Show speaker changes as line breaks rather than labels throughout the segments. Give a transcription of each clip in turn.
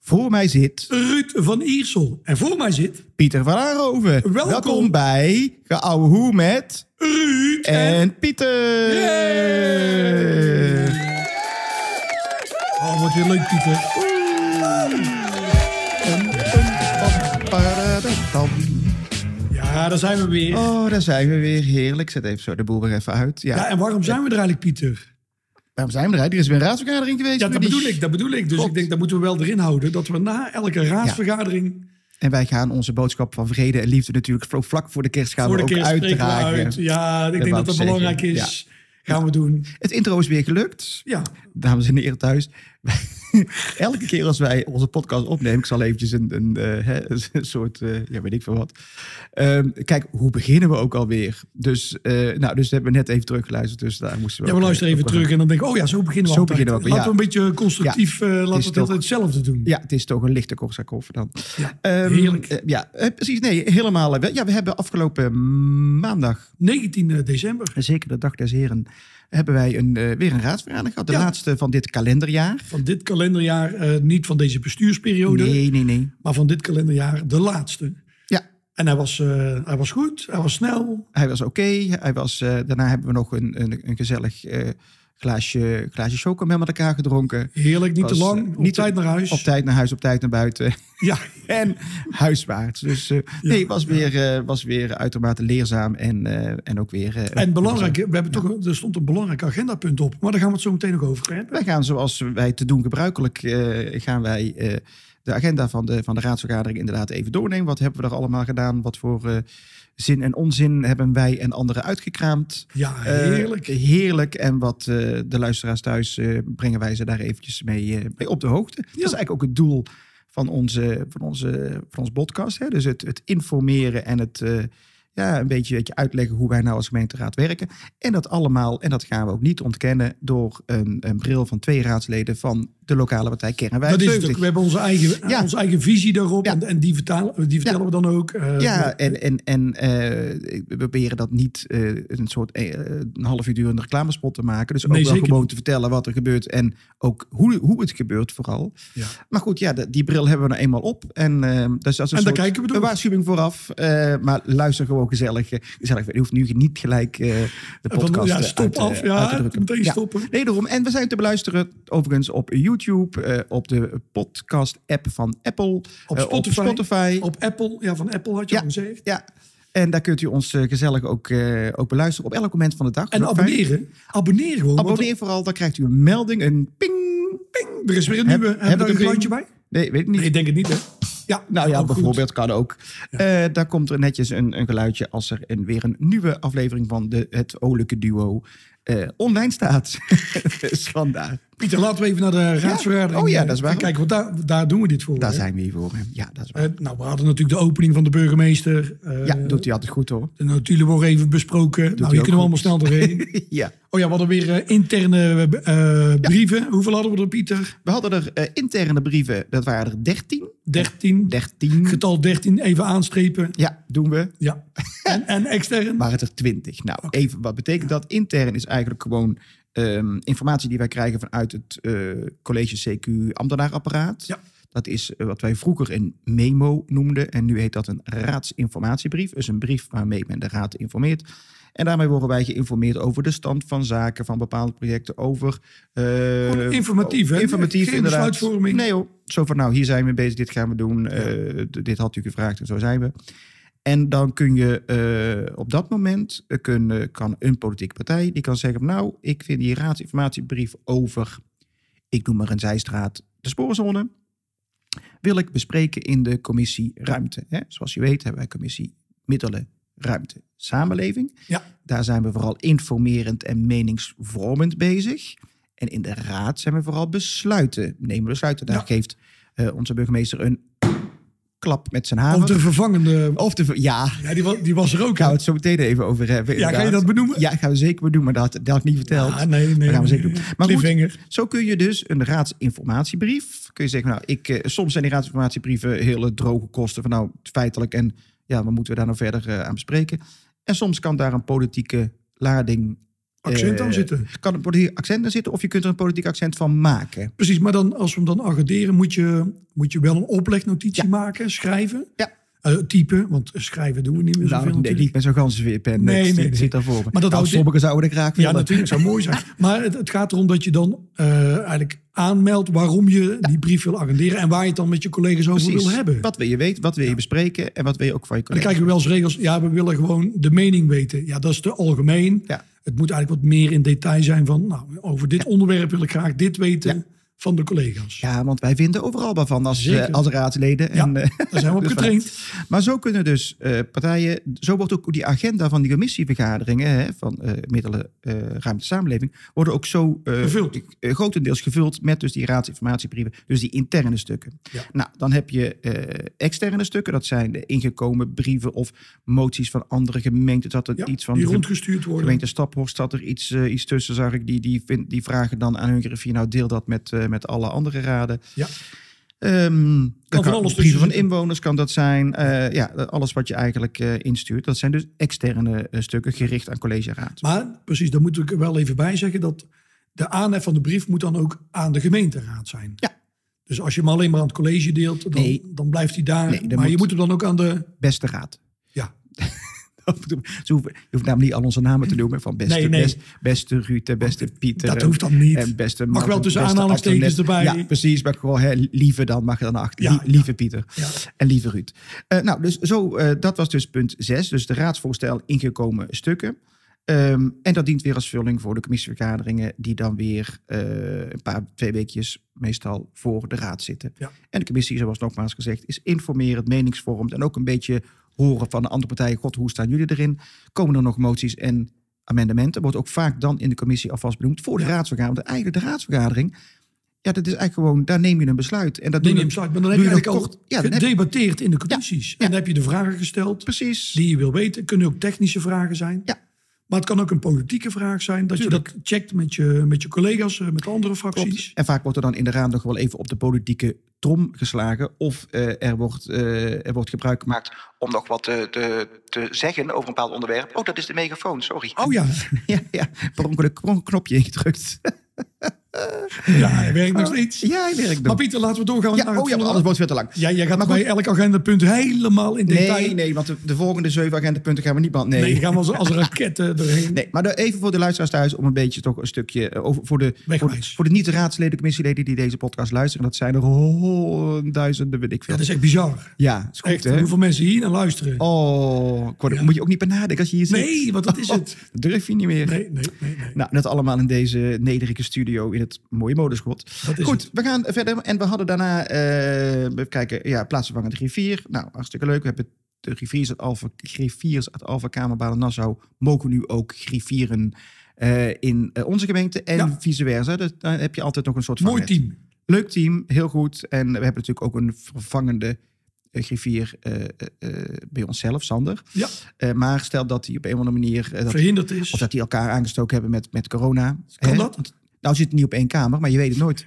Voor mij zit
Ruud van Iersel. En voor mij zit
Pieter van Aanhoven.
Welkom.
bij Geouwe Hoe met
Ruud
en Pieter.
Oh, wat weer leuk, Pieter. Ja, daar zijn we weer.
Oh, daar zijn we weer. Heerlijk. Zet even zo de boel weer even uit. Ja,
Ja, en waarom zijn we er eigenlijk, Pieter?
daarom zijn we er. hè? Er is weer een raadsvergadering geweest.
Ja, dat
Rudy.
bedoel ik, dat bedoel ik. Dus
Klopt.
ik denk, dat moeten we wel erin houden. Dat we na elke raadsvergadering
En wij gaan onze boodschap van vrede en liefde natuurlijk vl- vlak voor de kerst gaan
voor de
we ook
kerst spreken we
uitdragen.
uit. Ja, ik
wou
denk
ik
dat dat
zeggen.
belangrijk is. Gaan we doen.
Het intro is weer gelukt.
Ja,
dames en heren thuis. Elke keer als wij onze podcast opnemen, ik zal eventjes een, een, eh, hè, een soort, eh, ja, weet ik veel wat. Ehm, kijk, hoe beginnen we ook alweer? Dus, eh nou, dus hebben we net even teruggeluisterd, dus daar moesten we.
ja we
ook-
luisteren even
ook-
terug en dan denk ik, oh ja, zo beginnen we
Zo
altijd.
beginnen we ook,
Laten
ja.
we een beetje constructief, eh, laten we
is
het
toch-
altijd hetzelfde doen.
Ja, het is toch een lichte Korsakoff dan.
Ja,
Ehm,
heerlijk.
eh, ja, eh, precies. Nee, helemaal. eh, wel- Ja, we hebben afgelopen maandag,
19 eh, december.
zeker de dag des heren, hebben wij een, eh, weer een raadsvergadering gehad. De
Ja.
laatste van dit kalenderjaar.
Van dit kalenderjaar, eh, niet van deze bestuursperiode,
Nee, nee, nee.
maar van dit kalenderjaar de laatste.
Ja,
En hij was, eh, hij was goed, hij was snel.
Hij was oké. Hij was, eh, daarna hebben we nog een, een, een gezellig eh, glaasje, glaasje chocomel met elkaar gedronken.
Heerlijk, niet te
Was,
lang,
eh,
op
niet
tijd naar huis.
Op tijd naar huis, op tijd naar buiten.
Ja,
en huiswaarts. Dus eh, nee, was weer, eh, was weer uitermate leerzaam. En, eh, en ook weer... eh,
en belangrijk, hè, we hebben toch, een- er stond een belangrijk agendapunt op. Maar daar gaan we het zo meteen nog over hebben.
Wij gaan zoals wij te doen gebruikelijk, eh, gaan wij eh, de agenda van de, van de raadsvergadering inderdaad even doornemen. Wat hebben we er allemaal gedaan? Wat voor eh, zin en onzin hebben wij en anderen uitgekraamd?
Ja,
Eh,
heerlijk.
heerlijk. En wat eh, de luisteraars thuis eh, brengen wij ze daar eventjes mee, eh, mee op de hoogte. Dat is eigenlijk ook het doel van onze, van onze van ons podcast. Hè? Dus het, het informeren en het eh, ja, een beetje weet je, uitleggen hoe wij nou als gemeenteraad werken. En dat allemaal, en dat gaan we ook niet ontkennen, door een, een bril van twee raadsleden van de lokale partij Kernwijk.
dat is het ook. We hebben onze eigen, eh,
Ja.
onze eigen visie daarop.
Ja.
En, en die, vertalen, die vertellen we dan ook. eh,
Ja, en, en, en eh, we proberen dat niet eh, een soort eh, een half uur durende reclamespot te maken. Dus ook
Nee,
wel
zeker
gewoon te vertellen wat er gebeurt en ook hoe, hoe het gebeurt vooral.
Ja.
Maar goed, ja, de- die bril hebben we nou eenmaal op. En, eh, dus dat is een,
En daar
soort,
kijken we door.
een waarschuwing vooraf. eh, maar luister gewoon gezellig. eh, gezellig. Je hoeft nu niet gelijk eh, de
van,
podcast
ja,
eh,
stop
uit, eh,
af. Ja,
uit te drukken.
meteen
Ja.
stoppen.
Nee, daarom. En we zijn te beluisteren overigens op YouTube, eh, op de podcast-app van Apple, eh,
Spotify.
op Spotify,
Op Apple, ja, van Apple had je
Ja.
al gezegd.
ja. En daar kunt u ons eh, gezellig ook, eh, ook beluisteren op elk moment van de dag.
En
Dat is ook fijn.
abonneren. Abonneer gewoon. want
Abonneer vooral, dan krijgt u een melding, een ping, ping.
Er is weer een
Heb-
nieuwe.
heb
Hebben we
ik
er een
een
geluidje bij?
Nee, weet ik niet.
Nee, ik denk het niet. Hè? Ja,
Nou ja,
ook Oh, goed.
bijvoorbeeld kan ook. Eh, daar komt er netjes een, een geluidje als er een, weer een nieuwe aflevering van de, het Olijke Duo eh, online staat. dus vandaar.
Pieter, laten we even naar de raadsvergadering.
Oh ja,
eh,
dat is waar.
gaan Kijken, want daar, daar doen we dit voor.
Daar
hè?
zijn we hier voor. hè. Ja, dat is waar.
Eh, nou, we hadden natuurlijk de opening van de burgemeester. eh,
ja, doet hij altijd goed hoor.
De notulen worden even besproken. nou,
hij
hier
ook
kunnen we allemaal
goed.
snel doorheen.
ja.
Oh ja, we hadden weer eh, interne eh, brieven. Hoeveel hadden we er, Pieter?
We hadden er eh, interne brieven, dat waren er 13.
13.
13.
Getal 13 even aanstrepen.
Ja, doen we.
Ja. En, en extern?
waren het er 20. Nou, even, wat betekent dat? Intern is eigenlijk gewoon ehm, informatie die wij krijgen vanuit het eh, college CQ ambtenaarapparaat.
Ja.
Dat is eh, wat wij vroeger een memo noemden. En nu heet dat een raadsinformatiebrief. Dus een brief waarmee men de raad informeert. En daarmee worden wij geïnformeerd over de stand van zaken, van bepaalde projecten, over... eh,
Gewoon informatief, hè?
Informatief,
Geen
inderdaad.
besluitvorming.
Nee joh, zo van nou, hier zijn we bezig, dit gaan we doen, eh, d- dit had u gevraagd en zo zijn we. En dan kun je eh, op dat moment, eh, kun, eh, kan een politieke partij, die kan zeggen, nou, ik vind die raadsinformatiebrief over, ik noem maar een zijstraat, de spoorzonen, wil ik bespreken in de commissie ruimte. Hè? Zoals je weet hebben wij commissie middelen, ruimte, samenleving.
Ja.
Daar zijn we vooral informerend en meningsvormend bezig. En in de raad zijn we vooral besluiten, nemen besluiten. Daar
Ja.
geeft eh, onze burgemeester een klap met zijn
Of
hamer.
de vervangende.
Of de ver- ja,
Ja, die was, die was er ook.
gaan we het zo meteen even over hebben.
Ja, ga je
inderdaad.
dat benoemen?
Ja, gaan we zeker doen, maar dat dat had ik niet verteld.
Ah, nee, nee.
Dat gaan we
nee,
zeker doen.
nee.
Maar goed,
Cliffhanger.
zo kun je dus een raadsinformatiebrief. Kun je zeggen, nou, ik, eh, soms zijn die raadsinformatiebrieven hele droge kosten. Van nou, feitelijk en ja, wat moeten we daar nou verder eh, aan bespreken? En soms kan daar een politieke lading
accent aan
Eh,
zitten.
kan een politiek accent aan zitten of je kunt er een politiek accent van maken.
Precies, maar dan, als we hem dan agenderen, moet je, moet je wel een oplegnotitie
Ja.
maken, schrijven.
Ja.
Eh, typen, want schrijven doen we niet meer zoveel
Nou, nee,
natuurlijk.
niet met zo'n ganzenweerpen.
Nee,
Nee, nee,
nee, nee.
zit daar voor. me.
dat
Nou,
houdt-
sommigen zouden dat graag
Ja,
willen.
natuurlijk, zou mooi zijn. Maar het, het gaat erom dat je dan eh, eigenlijk aanmeldt waarom je die brief wil agenderen en waar je het dan met je collega's over
Precies.
wil hebben.
Wat wil je weten, wat wil je bespreken en wat wil je ook van je
En dan
collega's.
krijgen we wel eens regels, ja, we willen gewoon de mening weten. Ja, dat is te algemeen.
Ja.
Het moet eigenlijk wat meer in detail zijn van, nou, over dit onderwerp wil ik graag dit weten van de collega's.
Ja, want wij vinden overal wat van als, eh,
Zeker.
als raadsleden. En,
Ja.
eh,
Daar zijn we op
Dus
getraind.
maar zo kunnen dus eh, partijen, zo wordt ook die agenda van die commissievergaderingen hè, van eh, middelen eh ruimte samenleving, worden ook zo eh,
Gevuld.
eh, grotendeels gevuld met dus die raadsinformatiebrieven, dus die interne stukken.
Ja.
Nou, dan heb je eh, externe stukken, dat zijn de ingekomen brieven of moties van andere gemeenten, dat er
Ja,
iets van
die
de ge-
rondgestuurd worden.
Gemeente Staphorst zat er iets, eh, iets tussen, zag ik. Die, die, vind- die vragen dan aan hun griffier. Nou, deel dat met, eh, met alle andere raden.
Ja.
Ehm, dat
van alles tussen
Brieven van
zitten.
inwoners kan dat zijn. Eh, ja, alles wat je eigenlijk eh, instuurt. Dat zijn dus externe eh, stukken gericht aan college raad.
Maar precies, daar moet ik er wel even bij zeggen dat de aanhef van de brief moet dan ook aan de gemeenteraad zijn.
Ja.
Dus als je hem alleen maar aan het college deelt, dan,
Nee.
dan blijft hij daar.
Nee, dan
maar je
moet-
moet hem dan ook aan de.
Beste raad.
Ja.
Dat bedoel- Ze hoeven, je hoeft namelijk niet al onze namen te noemen. Van beste,
Nee, nee.
Best, beste Ruud en beste Pieter.
Dat
en-
hoeft dan niet.
En beste
Mag wel
Martin,
tussen
beste
aanhalingstekens
Antoinette.
erbij.
Ja, precies. Maar gewoon hè, lieve dan mag je dan achter.
Ja,
Lie-
ja.
Lieve Pieter.
Ja.
En lieve Ruud. Eh, nou, dus zo, eh, dat was dus punt 6. Dus de raadsvoorstel ingekomen stukken. Ehm, en dat dient weer als vulling voor de commissievergaderingen, die dan weer eh, een paar, twee weekjes meestal voor de raad zitten.
Ja.
En de commissie, zoals nogmaals gezegd, is informerend, meningsvormend en ook een beetje horen van de andere partijen. God, hoe staan jullie erin? Komen er nog moties en amendementen? Wordt ook vaak dan in de commissie alvast benoemd voor de raadsvergadering. Want eigenlijk de raadsvergadering, ja, dat is eigenlijk gewoon, daar neem je een besluit. En dat
Nee,
doen
neem
we-
uit. Maar dan heb
doe
je
je
eigenlijk
dat
al
kort. Ja, dan heb je-
gedebatteerd in de commissies. En dan heb je de vragen gesteld
Precies.
die je wil weten. Kunnen ook technische vragen zijn.
Ja.
Maar het kan ook een politieke vraag zijn. Dat je dat checkt met je, met je collega's, eh, met de andere fracties.
Klopt. En vaak wordt er dan in de raad nog wel even op de politieke trom geslagen. Of eh, er, wordt, eh, er wordt gebruik gemaakt om nog wat te, te, te zeggen over een bepaald onderwerp. Oh, dat is de megafoon, sorry.
Oh ja,
ja, ja. Per ongeluk gewoon een knopje ingedrukt.
ja hij werkt nog steeds.
Oh, Ja, hij werkt
Maar
nog.
Pieter, laten we doorgaan naar
Ja,
het
oh ja, want
volgende.
anders wordt het weer te lang.
Ja, jij gaat
Maar
bij elk agendapunt helemaal in detail.
Nee, nee, want de, de volgende zeven agendapunten gaan we niet behandelen.
Nee,
Nee.
die gaan we als, als raketten doorheen.
Nee, maar de- even voor de luisteraars thuis om een beetje toch een stukje eh, over voor de, voor de,
Wegwijs.
voor de niet-raadsleden, commissieleden die deze podcast luisteren. Dat zijn er honderdduizenden, weet ik
Ja,
veel.
dat is echt bizar.
Ja, is goed
Echt,
hè?
hoeveel mensen hier naar luisteren.
Oh, ik word- daar moet je ook niet bij nadenken als je hier zit.
nee, want dat is het.
Dat durf je niet meer.
Nee, nee, nee. nee.
Nou, dat allemaal in deze nederige studio in het mooie modeschot.
Dat is
Goed,
het.
we gaan verder. En we hadden daarna, eh even kijken, ja, plaatsvervangend rivier. Nou, hartstikke leuk. We hebben de riviers uit Alphen, griffiers uit Alphen Kamerbalen Nassau mogen nu ook griffieren eh, in eh, onze gemeente. En
Ja.
vice versa. Dus dan heb je altijd nog een soort van
Mooi
net.
team.
Leuk team, heel goed. En we hebben natuurlijk ook een vervangende eh, griffier eh, eh, eh, bij onszelf, Sander.
Ja,
Eh, maar stel dat die op een of andere manier. eh, dat-
verhinderd is.
of dat die elkaar aangestoken hebben met, met corona.
kan
Hè?
dat?
Nou zit het niet op één kamer, maar je weet het nooit.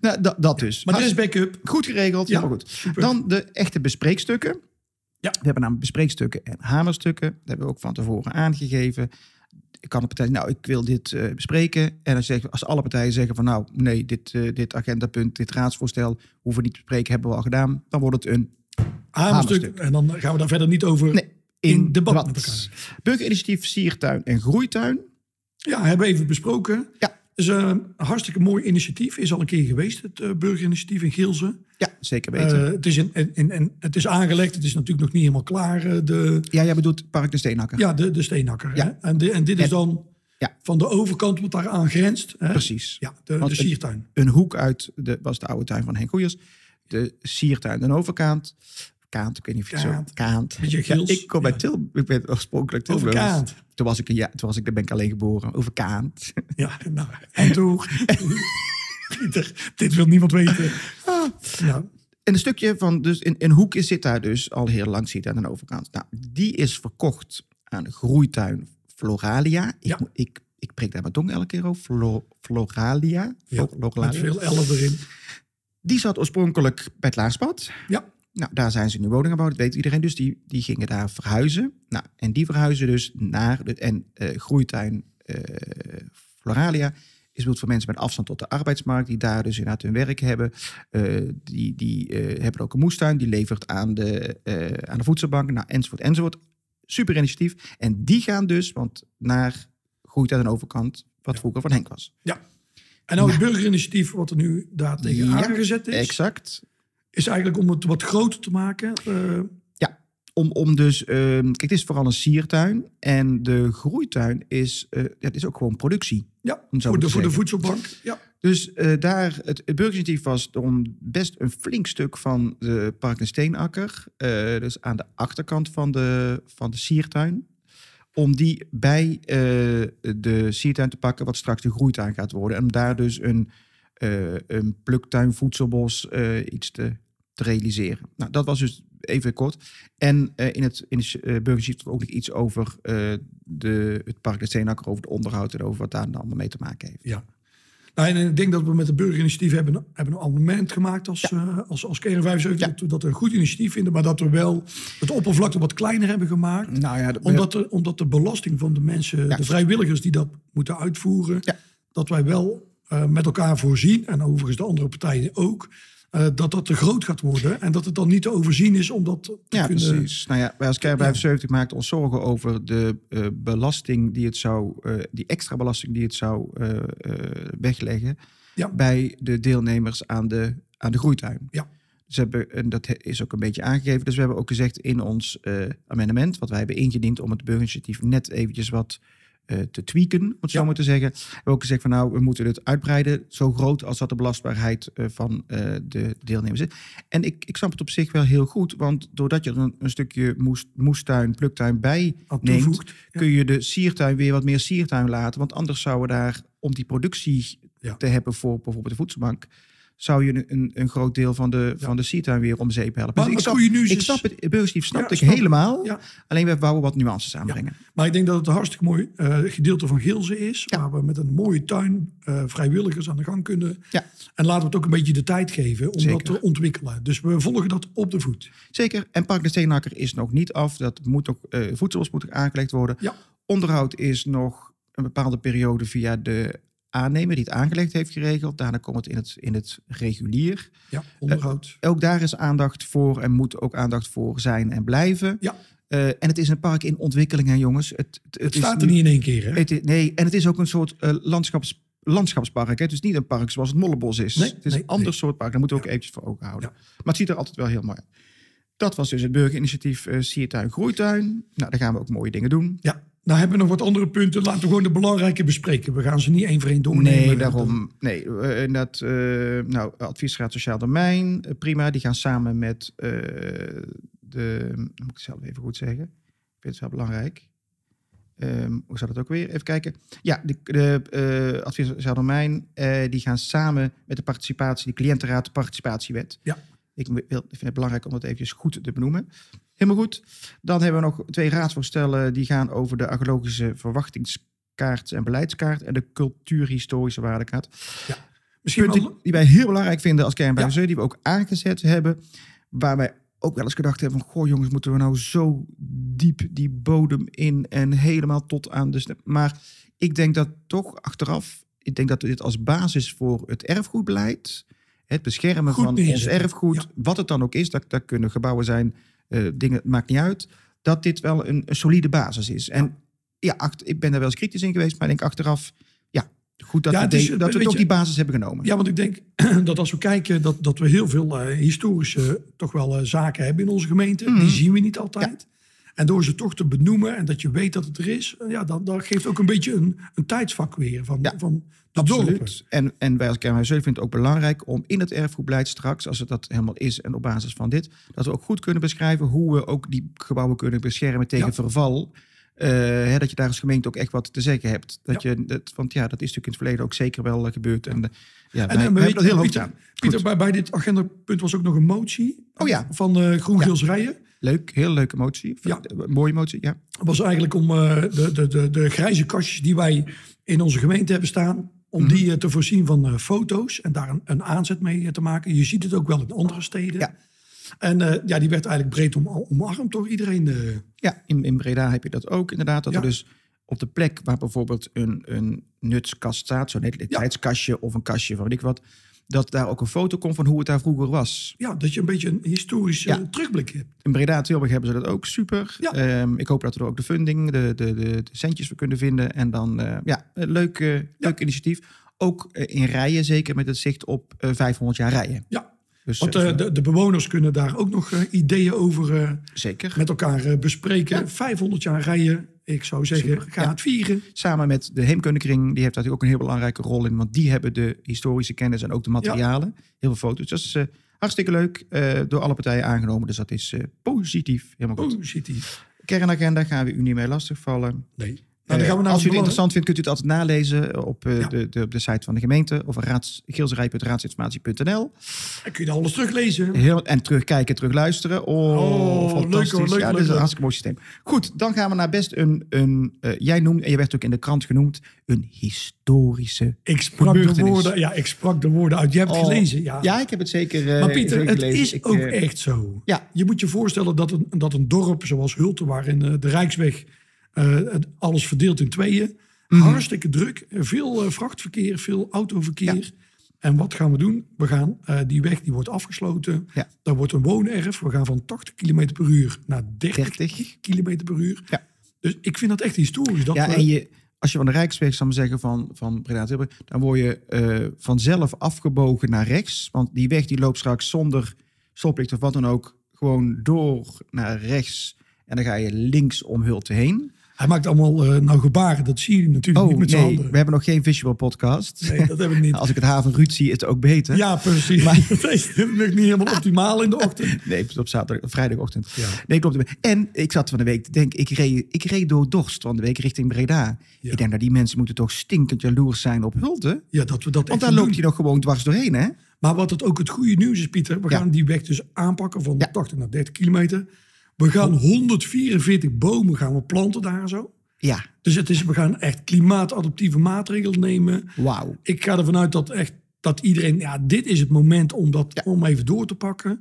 nou, da- dat dus.
maar dit
Hartst-
is backup.
goed geregeld.
Ja,
Ja, goed.
super.
Dan de echte bespreekstukken.
Ja.
We hebben namelijk bespreekstukken en hamerstukken. Dat hebben we ook van tevoren aangegeven. Ik kan de partij nou, ik wil dit eh, bespreken. En als, je zegt- als alle partijen zeggen van nou, nee, dit, eh, dit agendapunt, dit raadsvoorstel hoeven we niet te bespreken, hebben we al gedaan. Dan wordt het een
Hamerstuk.
Hamerstuk.
En dan gaan we daar verder niet over.
nee,
in
in,
debat
debat.
met elkaar.
Burgerinitiatief, siertuin en groeituin.
Ja, hebben we even besproken.
Ja.
Is eh, een hartstikke mooi initiatief. Is al een keer geweest, het eh, burgerinitiatief in Geelze.
Ja, zeker weten.
Eh, het, is in, in, in- in- het is aangelegd. Het is natuurlijk nog niet helemaal klaar, eh, de,
ja, jij bedoelt Park de Steenhakker.
Ja, de, de steenhakker.
Ja.
hè? En, de- en dit is
En-
dan
ja.
van de overkant wat daar aan grenst. Hè?
Precies.
Ja, de,
Want
de
een-
siertuin.
Een hoek uit de, was de oude tuin van Henk Goeiers. De siertuin aan de overkant. Kaant, ik weet niet of je het
Kaant.
zo... Kaant.
Beetje
Ja,
Gils.
ik kom
Ja.
bij Til, Ik ben oorspronkelijk
Over
Tilburg.
Kaant.
Toen was ik een ja, toen was ik, daar ben ik alleen geboren. Over Kaant.
Ja, nou, en toen... Pieter, dit wil niemand weten.
Ah.
Nou,
En een stukje van, dus in, in Hoek is- zit daar dus al heel lang zit aan de overkant. Nou, die is verkocht aan groeituin Floralia. Ik,
Ja.
moet- ik, ik preek daar mijn tong elke keer over. Flo- Floralia.
ja,
Floralia.
met veel ellen erin.
Die zat oorspronkelijk bij het Laarspad.
Ja,
Nou, daar zijn ze nu woning aan bouwen, dat weet iedereen. Dus die, die gingen daar verhuizen. Nou, en die verhuizen dus naar... De, en eh, groeituin eh, Floralia is bedoeld voor mensen met afstand tot de arbeidsmarkt... die daar dus inderdaad hun werk hebben. Eh, die die eh, hebben ook een moestuin, die levert aan de, eh, aan de voedselbank. Nou, enzovoort, enzovoort. Super initiatief. En die gaan dus, want naar groeit aan de overkant... wat vroeger van Henk was.
En nou het burgerinitiatief wat er nu daar tegen
Ja,
aangezet is,
Exact.
is eigenlijk om het wat groter te maken. eh,
om, om dus, ehm, kijk, het is vooral een siertuin. En de groeituin is, eh, ja, het is ook gewoon productie.
ja,
Om zo
voor
te
de, voor de
zeggen.
voedselbank. Ja.
Dus eh, daar, het, het burgerinitiatief was om best een flink stuk van de Park en Steenakker, eh, dus aan de achterkant van de, van de siertuin, om die bij eh, de siertuin te pakken, wat straks de groeituin gaat worden. En om daar dus een, eh, een pluktuin, voedselbos, eh, iets te, te realiseren. Nou, dat was dus even kort. En eh, in het, in het eh, burgerinitiatief stond ook nog iets over eh, de, het Park en Steenakker, over het onderhoud en over wat daar dan allemaal mee te maken heeft.
Ja. Nou, en ik denk dat we met het burgerinitiatief hebben, hebben een amendement gemaakt als, eh, als, als KR75.
Ja.
Dat, we dat een goed initiatief vinden, maar dat we wel het oppervlakte wat kleiner hebben gemaakt.
Nou ja,
Omdat, de, omdat de belasting van de mensen,
Ja.
de vrijwilligers die dat moeten uitvoeren,
Ja.
dat wij wel eh, met elkaar voorzien, en overigens de andere partijen ook, eh, dat dat te groot gaat worden. En dat het dan niet te overzien is om dat te
Ja,
kunnen...
precies. Nou ja, wij als Kerk 75 maakten ons zorgen over de eh, belasting die het zou, eh, die extra belasting die het zou eh, eh, wegleggen
Ja.
bij de deelnemers aan de, aan de groeituin.
Ja.
Dus hebben, en dat he- is ook een beetje aangegeven. Dus we hebben ook gezegd in ons eh, amendement, wat wij hebben ingediend om het burgerinitiatief net eventjes wat eh, te tweaken, om het zo
Ja.
maar te zeggen. We hebben ook gezegd van nou, we moeten het uitbreiden zo groot als dat de belastbaarheid eh, van eh, de deelnemers is. En ik, ik snap het op zich wel heel goed, want doordat je er een, een stukje moest, moestuin, pluktuin bij
Aan
neemt,
toevoegt. Ja.
kun je de siertuin weer wat meer siertuin laten. Want anders zouden daar, om die productie
Ja.
te hebben voor bijvoorbeeld de voedselbank, zou je een, een groot deel van de, van de siertuin weer om zeep helpen. Dus
Maar
ik
het
snap,
goede nieuws
ik
is-
snap het, het burgerstief snap
Ja,
ik
snap ik.
helemaal.
Ja.
Alleen we wouden wat nuances aanbrengen.
Maar ik denk dat het een hartstikke mooi eh, gedeelte van Geelze is. Waar we met een mooie tuin eh, vrijwilligers aan de gang kunnen.
Ja.
En laten we het ook een beetje de tijd geven om
Zeker.
dat te ontwikkelen. Dus we volgen dat op de voet.
Zeker. En Park de Steenakker is nog niet af. Dat moet nog, eh voedselbos moet nog aangelegd worden.
Ja.
Onderhoud is nog een bepaalde periode via de aannemer die het aangelegd heeft geregeld. Daarna komt het in het, in het regulier.
Ja, onderhoud.
Ook daar is aandacht voor en moet ook aandacht voor zijn en blijven.
ja,
Eh, en het is een park in ontwikkeling, hè, jongens. Het, het, het
het
is Eh,
staat er niet in één keer. Hè?
het is- nee, en het is ook een soort eh, landschaps, landschapspark. Hè? Dus niet een park zoals het Mollebos is.
Nee,
het is
nee,
een ander
nee.
soort park. Daar moeten we ook eventjes voor ogen houden. Maar het ziet er altijd wel heel mooi uit. Dat was dus het burgerinitiatief eh Siertuin Groeituin. Nou, daar gaan we ook mooie dingen doen.
Ja. Nou hebben we nog wat andere punten. Laten we gewoon de belangrijke bespreken. We gaan ze niet één voor één doornemen.
Nee, daarom. Nee, eh, inderdaad. eh, nou, adviesraad Sociaal Domein, eh, prima. Die gaan samen met eh, de... Moet ik het zelf even goed zeggen? Ik vind het wel belangrijk. Ehm, hoe zat het ook weer? Even kijken. Ja, de, de eh, advies Sociaal Domein, eh, die gaan samen met de participatie, de cliëntenraad, de participatiewet.
Ja.
Ik wil- ik vind het belangrijk om dat eventjes goed te benoemen. Helemaal goed. Dan hebben we nog twee raadsvoorstellen die gaan over de archeologische verwachtingskaart en beleidskaart en de cultuurhistorische waardekaart.
Misschien
Punten
wel-
die wij heel belangrijk vinden als kern bij
Ja.
Zee, die we ook aangezet hebben, waar wij ook wel eens gedacht hebben van, goh jongens, moeten we nou zo diep die bodem in en helemaal tot aan de... sne- Maar ik denk dat toch achteraf, ik denk dat dit als basis voor het erfgoedbeleid, het beschermen
Goed
van ons
neerzetten.
erfgoed,
Ja.
wat het dan ook is, dat, dat kunnen gebouwen zijn, eh, dingen, het maakt niet uit, dat dit wel een, een solide basis is. En ja, acht- ik ben daar wel eens kritisch in geweest, maar ik denk achteraf, ja, goed dat
Ja,
we,
het is-
deden- dat we
weet
toch
je-
die basis hebben genomen.
Ja, want ik denk dat als we kijken dat, dat we heel veel eh, historische toch wel eh, zaken hebben in onze gemeente.
Mhm.
Die zien we niet altijd. En door ze toch te benoemen en dat je weet dat het er is. eh, Ja, dan, dat geeft ook een beetje een, een tijdsvak weer van,
Ja,
van de dorpen.
Absoluut. En, en wij als Kernhuis Zeulen vinden het ook belangrijk om in het erfgoedbeleid straks, als het dat helemaal is en op basis van dit, dat we ook goed kunnen beschrijven hoe we ook die gebouwen kunnen beschermen tegen
Ja.
verval. Eh, hè, dat je daar als gemeente ook echt wat te zeggen hebt. Dat je, dat, want ja, dat is natuurlijk in het verleden ook zeker wel eh, gebeurd. En, eh, ja, wij,
En, eh,
wij
maar
hebben dat
weet-
heel hoog
Pieter,
gedaan.
Pieter, bij, bij dit agendapunt was ook nog een motie
Oh ja.
van eh Groen-Gils Rijen.
Leuk, heel leuke motie.
Ja.
Eh, Mooie motie, ja.
Dat was eigenlijk om eh, de, de, de, de grijze kastjes die wij in onze gemeente hebben staan... om
Mhm.
die eh, te voorzien van eh, foto's en daar een, een aanzet mee eh, te maken. Je ziet het ook wel in andere steden.
Ja.
En eh, ja, die werd eigenlijk breed om, omarmd door iedereen. eh.
Ja, in, in Breda heb je dat ook inderdaad. Dat er
Ja.
dus op de plek waar bijvoorbeeld een, een nutskast staat, zo'n elektriciteitskastje of een kastje van weet ik wat, dat daar ook een foto komt van hoe het daar vroeger was.
ja, dat je een beetje een historisch eh,
Ja.
terugblik hebt.
In Breda en Tilburg hebben ze dat ook super.
Ja.
Ehm, ik hoop dat we er ook de funding, de, de, de, de centjes voor kunnen vinden. En dan, eh, ja, een leuk, eh, leuk initiatief. Ook eh, in rijen, zeker met het zicht op eh, 500 jaar rijen.
Ja,
Dus
want
eh,
eh, de, de bewoners kunnen daar ook nog eh, ideeën over eh,
zeker.
met elkaar eh, bespreken. 500 jaar rijden, ik zou zeggen,
Super,
ga
ja.
het vieren.
Samen met de Heemkundekring, die heeft daar natuurlijk ook een heel belangrijke rol in. Want die hebben de historische kennis en ook de materialen. Heel veel foto's. Dat is eh, hartstikke leuk. eh, door alle partijen aangenomen. Dus dat is eh, positief. Helemaal goed.
Positief.
Kernagenda gaan we u niet mee lastigvallen.
Nee. Mm. Nou, dan gaan we
Eh,
naar
Als u
het
het
belang-
interessant vindt, kunt u het altijd nalezen op eh,
Ja.
de, de, op de site van de gemeente. Of raads- geelserij.raadsinformatie.nl.
Dan kun je daar alles teruglezen.
Heel, en terugkijken, terugluisteren. Oh,
Oh,
fantastisch.
leuk hoor, leuk,
ja, dat
leuk,
is een
leuk.
hartstikke mooi systeem. Goed, dan gaan we naar best een, een eh, jij noemt, en je werd ook in de krant genoemd, een historische.
Ik sprak, de
Gebeurtenis.
woorden, ja, ik sprak de woorden uit. Je hebt
Oh,
het gelezen, ja.
Ja, ik heb het zeker eh,
Maar Pieter,
zeker
het
gelezen.
is
Ik,
ook
eh,
echt zo.
ja.
Je moet je voorstellen dat een, dat een dorp zoals Hulte, waarin eh, de Rijksweg eh, het- alles verdeelt in tweeën,
Mhm.
hartstikke druk, eh, veel eh, vrachtverkeer, veel autoverkeer. En wat gaan we doen? We gaan eh, die weg die wordt afgesloten.
Ja.
Daar wordt een woonerf. We gaan van 80 km per uur naar 30,
30.
km per uur.
Ja.
Dus ik vind dat echt historisch. Dat eh,
Ja,
we-
en je, als je van de Rijksweg zou ik maar zeggen van, van Breda Tilburg, dan word je eh, vanzelf afgebogen naar rechts. Want die weg die loopt straks zonder stoplicht of wat dan ook gewoon door naar rechts. En dan ga je links om Hulte heen.
Hij maakt allemaal eh, nou gebaren. Dat zie je natuurlijk
Oh
niet met zijn
nee,
handen.
we hebben nog geen visual podcast.
Nee, dat hebben we niet.
Als ik het haven Ruud zie, is het ook beter.
Ja, precies. dat is natuurlijk niet helemaal optimaal in de ochtend.
Nee, op zaterdag, op vrijdagochtend.
Ja.
Nee, klopt. En ik zat van de week te denken, ik reed, ik reed door Dorst van de week richting Breda.
Ja.
Ik denk, dat die mensen moeten toch stinkend jaloers zijn op Hulde.
Ja, dat we dat
Want
echt
daar
gaan
loopt
doen.
hij nog gewoon dwars doorheen, hè?
Maar wat het ook het goede nieuws is, Pieter, we
Ja.
gaan die weg dus aanpakken van
Ja.
80 naar 30 kilometer. We gaan 144 bomen gaan we planten daar zo.
Ja,
Dus het is, we gaan echt klimaatadaptieve maatregelen nemen.
wauw.
Ik ga ervan uit dat echt dat iedereen, ja, dit is het moment om dat om even door te pakken.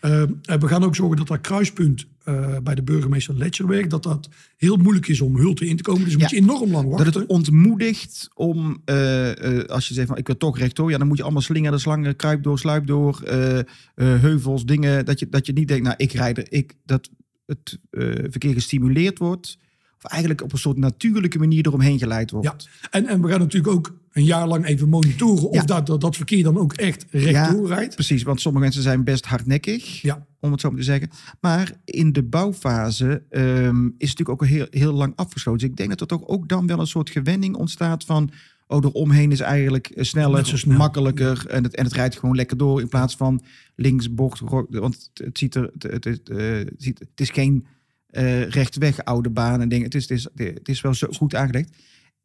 Eh, eh, we gaan ook zorgen dat dat kruispunt eh, bij de burgemeester Letcherweg, dat dat heel moeilijk is om Hulte in te komen. Dus
Ja.
moet je enorm lang
Dat
wachten.
het ontmoedigt om, eh, eh, als je zegt van ik wil toch rechtdoor, ja, dan moet je allemaal slingeren, slangen, kruip door, sluip door, eh, eh, heuvels, dingen. Dat je, dat je niet denkt, nou ik rijd er, ik, dat het eh, verkeer gestimuleerd wordt. Of eigenlijk op een soort natuurlijke manier eromheen geleid wordt.
Ja, en, en we gaan natuurlijk ook een jaar lang even monitoren of
Ja.
dat, dat, dat verkeer dan ook echt rechtdoor rijdt.
Precies, want sommige mensen zijn best hardnekkig,
Ja,
om het zo maar te zeggen. Maar in de bouwfase ehm, is het natuurlijk ook al heel, heel lang afgesloten. Dus ik denk dat er toch ook dan wel een soort gewenning ontstaat van... oh, er omheen is eigenlijk eh,
Net
sneller,
zo snel.
makkelijker... En, het, en het rijdt gewoon lekker door in plaats van links, bocht... ro- want het, het ziet er, het, het, het, eh, het ziet, het is geen eh rechtweg oude baan en dingen. Het is, het, is, het is wel zo goed aangelegd.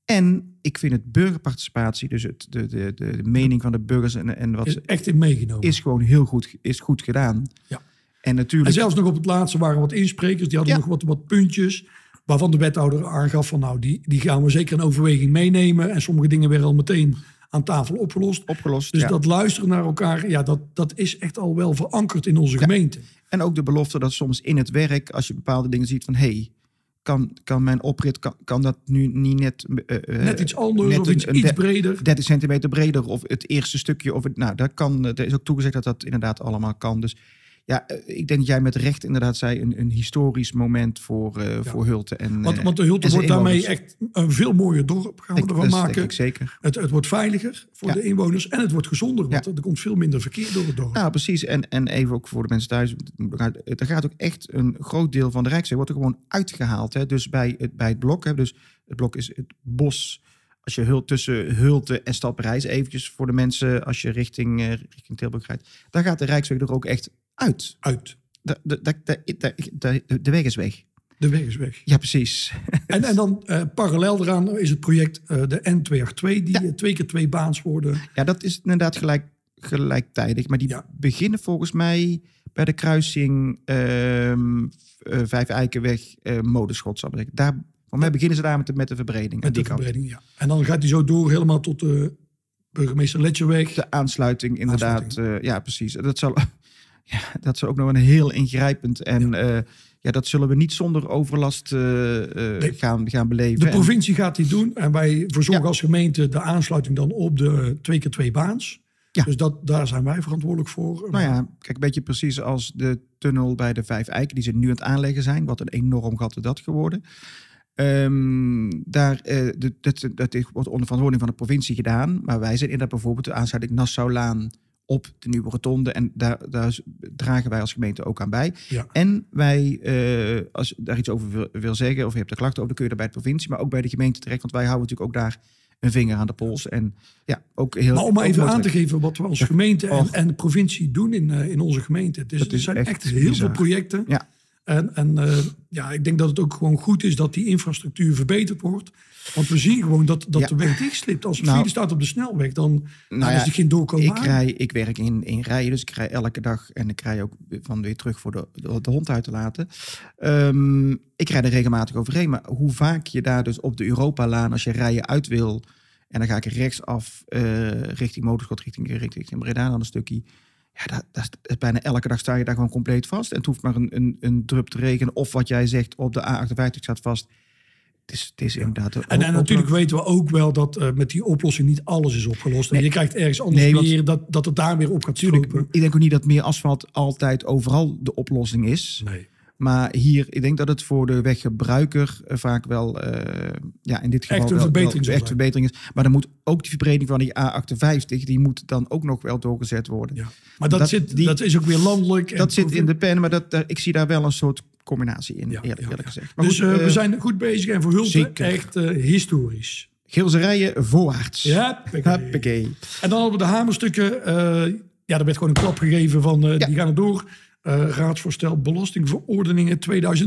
En ik vind het burgerparticipatie, dus het, de, de, de, de mening van de burgers en, en wat ze-
is echt in meegenomen.
is gewoon heel goed, is goed gedaan.
Ja.
En
en
natuurlijk,
zelfs nog op het laatste waren wat insprekers, die hadden
Ja.
nog wat, wat puntjes. Waarvan de wethouder aangaf van nou, die, die gaan we zeker in overweging meenemen. En sommige dingen werden al meteen aan tafel opgelost.
opgelost.
Dus
ja.
dat luisteren naar elkaar, ja, dat, dat is echt al wel verankerd in onze gemeente.
En ook de belofte dat soms in het werk, als je bepaalde dingen ziet van... hey, kan, kan mijn oprit, kan, kan dat nu niet net... eh, eh,
Net iets anders
net
of
een-
iets,
een
iets
de-
breder.
30 centimeter breder of het eerste stukje. Of het, nou, daar kan, eh, er is ook toegezegd dat dat inderdaad allemaal kan. Dus ja, eh, ik denk dat jij met recht inderdaad zei... een, een historisch moment voor, eh, voor Hulten. En,
Want,
eh,
want de Hulte
en zijn
wordt daarmee
inwoners.
echt een veel mooier dorp gaan we
Ik-
ervan
dat denk
maken.
ik zeker.
Het, het wordt veiliger voor
Ja.
de inwoners en het wordt gezonder, want er komt veel minder verkeer door het dorp.
Nou, precies. En, en even ook voor de mensen thuis. Er gaat ook echt een groot deel van de Rijksweg wordt er gewoon uitgehaald. Hè? Dus bij het, bij het blok. Hè? Dus het blok is het bos. Als je hult, tussen Hulte en Stad Parijs eventjes voor de mensen. Als je richting, eh, richting Tilburg rijdt. Daar gaat de Rijksweg er ook echt uit.
Uit.
De, de, de, de, de- de- de weg is weg.
De weg is weg.
Ja, precies.
En, en dan eh, parallel daaraan is het project eh, de N282, die eh, twee keer twee baans worden.
Ja, dat is inderdaad gelijk, gelijktijdig. Maar die
Ja.
beginnen volgens mij bij de kruising ehm eh Vijf Eikenweg, eh Modeschot. Zou ik zeggen. Daar, voor mij beginnen ze daar met de, met de verbreding. aan
Met
die
de
kant.
verbreding, ja. En dan gaat hij zo door helemaal tot de burgemeester Letcherweg.
De aansluiting inderdaad. eh, ja, precies. Dat zal, ja, dat is ook nog een heel ingrijpend. En ja, ja dat zullen we niet zonder overlast eh, eh,
Nee.
gaan, gaan beleven.
De
En-
provincie gaat die doen en wij verzorgen
Ja.
als gemeente de aansluiting dan op de 2 keer 2 baans.
Ja.
Dus dat, daar zijn wij verantwoordelijk voor.
Nou ja, kijk, een beetje precies als de tunnel bij de Vijf Eiken, die ze nu aan het aanleggen zijn. Wat een enorm gat is dat geworden. Ehm, daar, eh, de- dat, dat is- wordt onder verantwoording van de provincie gedaan. Maar wij zijn inderdaad bijvoorbeeld de aansluiting Nassaulaan op de nieuwe rotonde. En daar, daar z- dragen wij als gemeente ook aan bij.
Ja.
En wij, eh, als je daar iets over wil, wil zeggen of je hebt er klachten over, dan kun je daar bij de provincie, maar ook bij de gemeente terecht. Want wij houden natuurlijk ook daar een vinger aan de pols. En ja, ook heel.
Maar om maar
ook
even aan
motorweg.
te geven wat we als gemeente en,
Och.
en de provincie doen in, eh, in onze gemeente. Het is,
Dat
er
is
zijn
echt
echt, heel
bizar.
veel projecten.
Ja.
En, en eh, ja, ik denk dat het ook gewoon goed is dat die infrastructuur verbeterd wordt. Want we zien gewoon dat, dat
Ja.
de weg dichtslipt. Als het
Nou.
file staat op de snelweg, dan, dan
ja,
is er geen doorkomen
Ik, rij, ik werk in, in rijen, dus ik rij elke dag en ik rij ook van weer terug voor de, de, de hond uit te laten. Ehm, ik rij er regelmatig overheen, maar hoe vaak je daar dus op de Europalaan, als je rijen uit wil, en dan ga ik rechtsaf eh richting Motorschot, richting, richting, richting Breda dan een stukje. Ja, dat, dat is- dat is bijna elke dag sta je daar gewoon compleet vast. En het hoeft maar een, een, een drup te regenen. Of wat jij zegt, op de A58 staat vast. Het is, het is inderdaad... een-
En, en
een-
natuurlijk weten we ook wel dat eh, met die oplossing niet alles is opgelost. En
Nee.
je krijgt ergens anders
Nee, want-
weer dat, dat het daar weer op gaat
Natuurlijk,
stropen.
ik denk ook niet dat meer asfalt altijd overal de oplossing is.
Nee.
Maar hier, ik denk dat het voor de weggebruiker eh, vaak wel, eh, ja, in dit geval
een
wel- wel
verbetering zal
echt
zijn.
verbetering is. Maar dan moet ook die verbreding van die A58, die moet dan ook nog wel doorgezet worden.
Ja. Maar dat,
Dat-
zit,
die-
dat is ook weer landelijk. en
Dat zit
provi-
in de pen, maar dat, daar- ik zie daar wel een soort combinatie in,
Ja,
eerlijk,
ja,
eerlijk
ja.
gezegd. Maar
Dus
goed,
eh,
eh,
we zijn goed bezig en voor Hulten
zeker.
echt eh, historisch.
Geelse rijen voorwaarts.
Ja,
Huppakee.
En dan hadden we de hamerstukken. eh, ja, er werd gewoon een klap gegeven van eh,
Ja.
die gaan er door. Eh, raadsvoorstel belastingverordeningen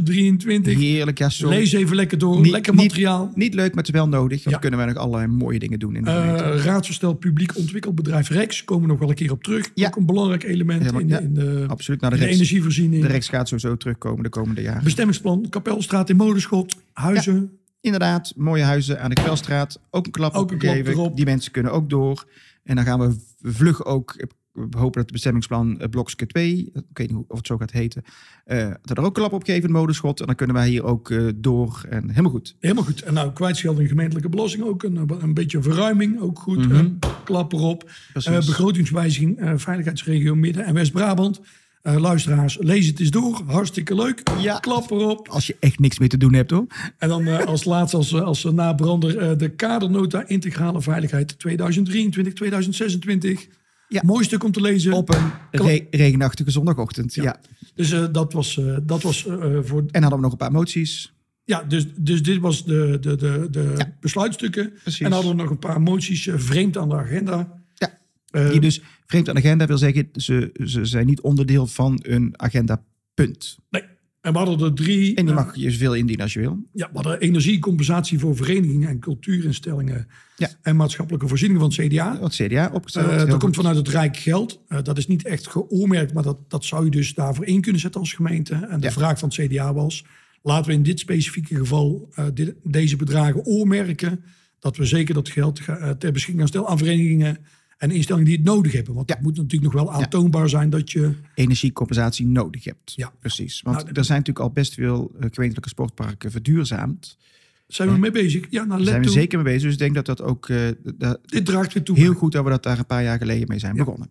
2023.
Heerlijk, ja, sorry.
Lees even lekker door.
Niet-
lekker
niet-
materiaal.
Niet leuk, maar het is wel nodig. Want
Ja.
dan kunnen wij nog allerlei mooie dingen doen in de
Eh,
gemeente.
raadsvoorstel publiek ontwikkelbedrijf Rex. Komen we nog wel een keer op terug.
Ja.
Ook een belangrijk element
Ja, maar-
in,
ja,
in de,
Absoluut. Nou, de,
in de
rechts,
energievoorziening.
de rechts gaat sowieso terugkomen de komende jaren.
Bestemmingsplan Kapelstraat in Molenschot. Huizen.
Inderdaad, mooie huizen aan de Kwelstraat. Ook een klap
Ook een klap
opgegeven.
erop.
Die mensen kunnen ook door. En dan gaan we v- vlug ook... We hopen dat het bestemmingsplan eh, Blokske 2... Ik weet niet hoe- of het zo gaat heten. eh, dat er ook klap op geven, modeschot. En dan kunnen wij hier ook eh, door. En helemaal goed.
Helemaal goed. En nou, kwijtschelding gemeentelijke belasting ook. Een, een beetje verruiming ook goed. Eh, klap erop.
Mhm. Precies.
Eh, begrotingswijziging, eh, veiligheidsregio Midden- en West-Brabant. Eh, luisteraars, lees het eens door. Hartstikke leuk.
Ja.
Klap erop.
Als je echt niks meer te doen hebt, hoor.
En dan eh, als laatste, als, eh, als eh, nabrander, eh, de kadernota integrale veiligheid 2023, 2026.
Ja.
Mooi stuk om te lezen.
Op een re- regenachtige zondagochtend. Ja.
Dus eh, dat was, eh, dat was eh, voor...
En hadden we nog een paar moties.
Ja, dus, dus dit was de, de, de, de besluitstukken.
Precies.
En dan hadden we nog een paar moties eh, vreemd aan de agenda.
Ja.
Eh,
Die dus vreemd aan de agenda wil zeggen... Ze, ze zijn niet onderdeel van een agenda, punt.
nee. En we hadden er drie.
En die
eh,
mag je zoveel indienen als je wil.
Ja, we hadden energiecompensatie voor verenigingen en cultuurinstellingen.
Ja.
En maatschappelijke voorzieningen van het CDA.
Wat CDA opgesteld.
Eh,
Heel
dat
goed.
komt vanuit het Rijk geld. Eh, dat is niet echt geoormerkt, maar dat, dat zou je dus daarvoor in kunnen zetten als gemeente. En de
Ja.
vraag van het CDA was: laten we in dit specifieke geval eh, dit- deze bedragen oormerken. Dat we zeker dat geld ga- eh, ter beschikking gaan stellen aan verenigingen en instellingen die het nodig hebben. Want
Ja.
het moet natuurlijk nog wel aantoonbaar zijn dat je.
energiecompensatie nodig hebt.
Ja.
Precies. Want
Nou,
er zijn natuurlijk al best veel eh, gemeentelijke sportparken verduurzaamd.
Zijn we mee bezig? Ja, nou,
Daar
let
zijn we
toe.
zeker mee bezig. Dus ik denk dat dat ook eh, da-
Dit draagt weer toe.
heel goed dat we dat daar een paar jaar geleden mee zijn begonnen.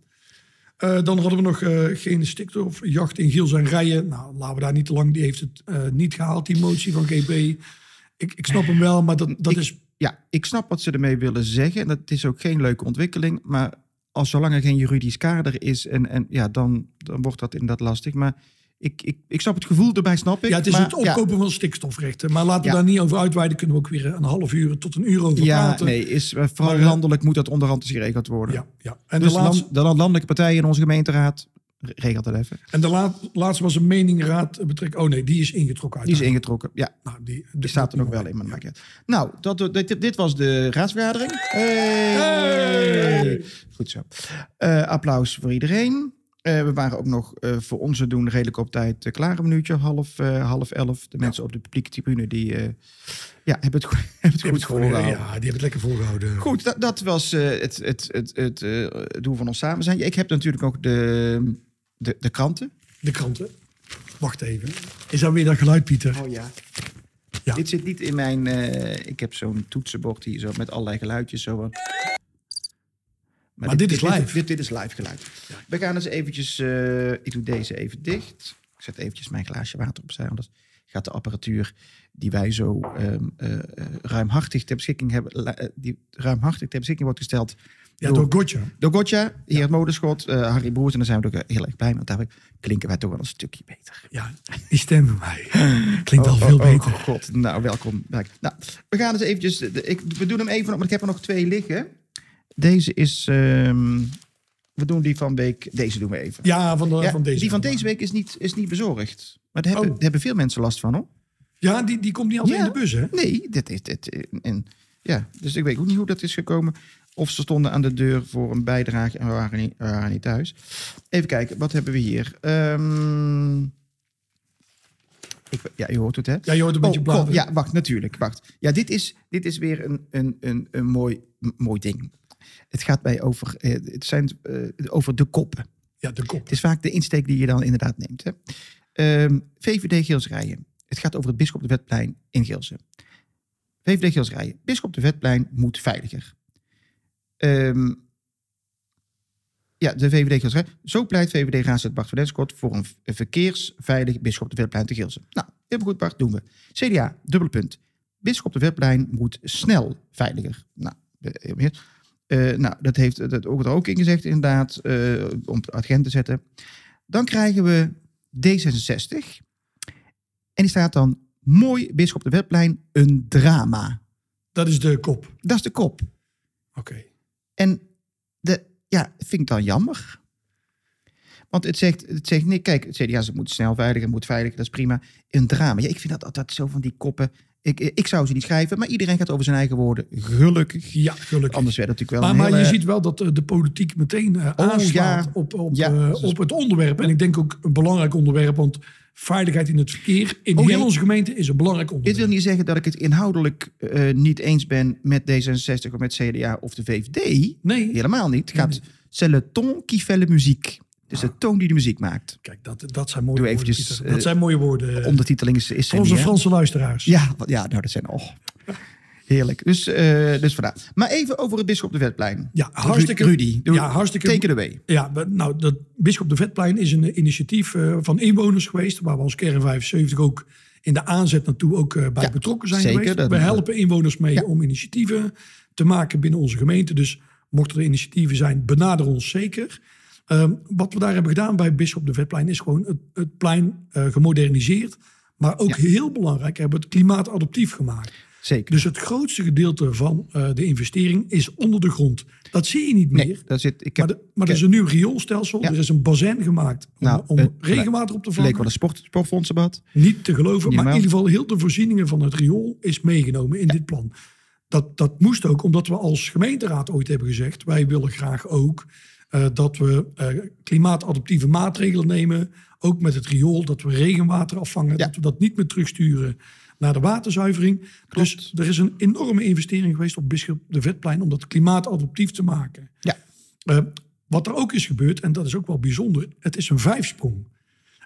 Eh, dan hadden we nog eh, geen stikstofjacht in Giels en Rijen. Nou, laten we daar niet te lang. Die heeft het eh, niet gehaald, die motie van GB. Ik, ik snap hem wel, maar dat, dat
Ik-
is
Ja, ik snap wat ze ermee willen zeggen. En dat is ook geen leuke ontwikkeling. Maar als zolang er geen juridisch kader is, en, en, ja, dan, dan wordt dat inderdaad lastig. Maar ik, ik, ik snap het gevoel erbij, snap ik.
Ja, het is
maar,
het opkopen van stikstofrechten. Maar laten we
Ja.
daar niet over uitweiden. Kunnen we ook weer een half uur tot een uur over
Ja, ja
praten.
nee, is, eh, vooral
Maar, eh,
landelijk moet dat onderhand eens geregeld worden.
Ja, ja. En,
dus
de
de,
laatste,
land, de landelijke partijen in onze gemeenteraad, re- regelt dat even.
en de la- laatste was een meningraad betrekking. Oh nee, die is ingetrokken.
Die is
uiteraard.
ingetrokken. Ja,
Nou, die,
die staat er nog wel in. Maar dat maakt niet uit. Nou, dat, dit, dit was de raadsvergadering. Hey!
Hey!
Goed zo. Eh, applaus voor iedereen. Eh, we waren ook nog eh, voor onze doen redelijk op tijd eh, klaar. Een minuutje, half, eh, half elf. De mensen op de publieke tribune die, eh, ja, hebben het, goed- hebben het
Die
goed
hebben, het gewoon,
voorgehouden.
ja, die hebben het lekker volgehouden.
Goed, dat, dat was eh, het, het, het, het eh, doel van ons samen zijn. Ik heb natuurlijk ook de, de, de kranten.
De kranten. Wacht even. Is dat weer dat geluid, Pieter?
Oh ja.
Ja.
Dit zit niet in mijn. eh, ik heb zo'n toetsenbord hier zo met allerlei geluidjes. Zo. wat. Maar,
dit is live.
Dit, dit is live geluid. We gaan eens eventjes. eh, ik doe deze even dicht. Ik zet eventjes mijn glaasje water opzij. Anders gaat de apparatuur die wij zo ehm, eh, eh, ruimhartig ter beschikking hebben. la- eh, die ruimhartig ter beschikking wordt gesteld.
Ja, door Gotcha.
Door Gotcha, hier het motorschot, eh, Harry Broers. En daar zijn we ook eh, heel erg blij mee. Want daar klinken wij toch wel een stukje beter.
Ja, die stem van mij. Klinkt al
Oh,
veel
oh, oh,
beter.
god, nou welkom. Nou, we gaan eens eventjes, de- ik, we doen hem even, want ik heb er nog twee liggen. Deze is, ehm, we doen die van week, deze doen we even.
Ja, van, de,
Ja,
van deze.
die van deze week is niet, is niet bezorgd. Maar daar hebben,
Oh.
daar hebben veel mensen last van hoor.
Ja, die, die komt niet altijd
Ja.
in de bus, hè?
Nee, dat is, dit, en, ja, dus ik weet ook niet hoe dat is gekomen. Of ze stonden aan de deur voor een bijdrage en we waren niet, we waren niet thuis. Even kijken, wat hebben we hier? Ehm, ik, ja, je hoort het hè?
Ja, je hoort een beetje
Oh,
bladeren.
kom, ja, wacht, natuurlijk. Wacht. Ja, dit is, dit is weer een, een, een, een mooi, m- mooi ding. Het gaat mij over, eh, het zijn, eh, over de koppen.
Ja, de kop.
Het is vaak de insteek die je dan inderdaad neemt. Hè? Ehm, VVD Geelsrijen. Het gaat over het Bisschop de Wetplein in Geelsen. VVD Geelsrijen. Bisschop de Wetplein moet veiliger. Ehm, ja, de VVD Geelsrijen. Zo pleit VVD-raadslid Bart van Denskot voor een v- een verkeersveilig Bisschop de Wetplein te Geelsen. Nou, helemaal goed Bart, doen we. CDA, dubbele punt. Bisschop de Wetplein moet snel veiliger. Nou, eh, heel meer. Eh, nou, dat heeft dat ook er ook in gezegd, inderdaad, eh, om het agent te zetten. Dan krijgen we D66. En die staat dan mooi, Bisschop de Wetplein, een drama.
Dat is de kop. Oké.
Dat is de kop. En de, ja, vind ik dan jammer. Want het zegt, het zegt nee, kijk, het CDA ze moeten snel veiliger, moet veiliger, dat is prima. Een drama. Ja, ik vind dat altijd zo van die koppen. Ik, ik zou ze niet schrijven, maar iedereen gaat over zijn eigen woorden. Gelukkig.
Ja, gelukkig.
Anders werd het natuurlijk wel
maar
een
maar je
hele- Oh,
ziet wel dat eh, de politiek meteen eh, aanslaat
ja.
op, op,
Ja.
eh, op het onderwerp. En ik denk ook een belangrijk onderwerp, want veiligheid in het verkeer in
Oh,
heel
nee.
onze gemeente is een belangrijk
Dit
onderwerp.
wil niet zeggen dat ik het inhoudelijk eh, niet eens ben met D66 of met CDA of de VVD.
Nee,
Helemaal niet. Het gaat c'est le ton qui fait la muziek. Dus de toon die de muziek maakt.
kijk, dat, dat zijn mooie
Doe
woorden.
eventjes,
Pieter.
eh,
dat zijn mooie woorden. eh,
Ondertiteling is, is
Voor onze
niet, hè?
Franse luisteraars.
Ja, wat- ja, nou dat zijn... Oh, heerlijk. Dus, eh dus vandaar. Maar even over het Bisschop de Wetplein.
Ja, hartstikke-
Ru- Rudy, doe-
ja, hartstikke-
take it away.
Ja, we- nou, dat Bisschop de Vetplein is een eh, initiatief eh, van inwoners geweest. Waar we als Kern 75 ook in de aanzet naartoe ook eh, bij
Ja,
betrokken zijn
zeker,
geweest.
dat-
we helpen inwoners mee om initiatieven te maken binnen onze gemeente. Dus mochten er initiatieven zijn, benader ons zeker. Ehm, wat we daar hebben gedaan bij Bisschop de Vetplein is gewoon het, het plein eh, gemoderniseerd. Maar ook heel belangrijk hebben we het klimaatadoptief gemaakt.
Zeker.
Dus het grootste gedeelte van eh, de investering is onder de grond. Dat zie je niet meer.
Nee, daar zit... Ik
Maar,
heb,
de- maar er is een nieuw rioolstelsel.
Ja.
Er is een bazin gemaakt om,
Nou,
om
eh,
regenwater op te
leek
vangen.
wel een sport, sportfondsenbad.
Niet te geloven.
Niet
maar in
normaal.
ieder geval heel de voorzieningen van het riool is meegenomen in dit plan. Dat, dat moest ook omdat we als gemeenteraad ooit hebben gezegd... wij willen graag ook eh, dat we eh, klimaatadaptieve maatregelen nemen. Ook met het riool, dat we regenwater afvangen.
Ja.
Dat we dat niet meer terugsturen naar de waterzuivering. Dus er is een enorme investering geweest op Bisschop de Vetplein... om dat klimaatadaptief te maken.
Ja,
Eh, wat er ook is gebeurd, en dat is ook wel bijzonder, het is een vijfsprong.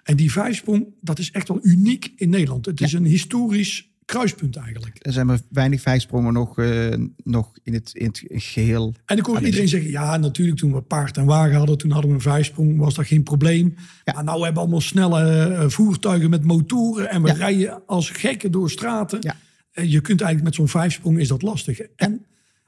En die vijfsprong, dat is echt wel uniek in Nederland. Het is een historisch kruispunt eigenlijk.
er zijn maar weinig vijfsprongen nog, eh, nog in, het, in het geheel.
En ik hoor iedereen zeggen, ja natuurlijk toen we paard en wagen hadden, toen hadden we een vijfsprong, was dat geen probleem. Maar nou hebben we allemaal snelle eh, voertuigen met motoren en we
Ja.
rijden als gekken door straten.
Ja.
Eh, je kunt eigenlijk met zo'n vijfsprong is dat lastig. En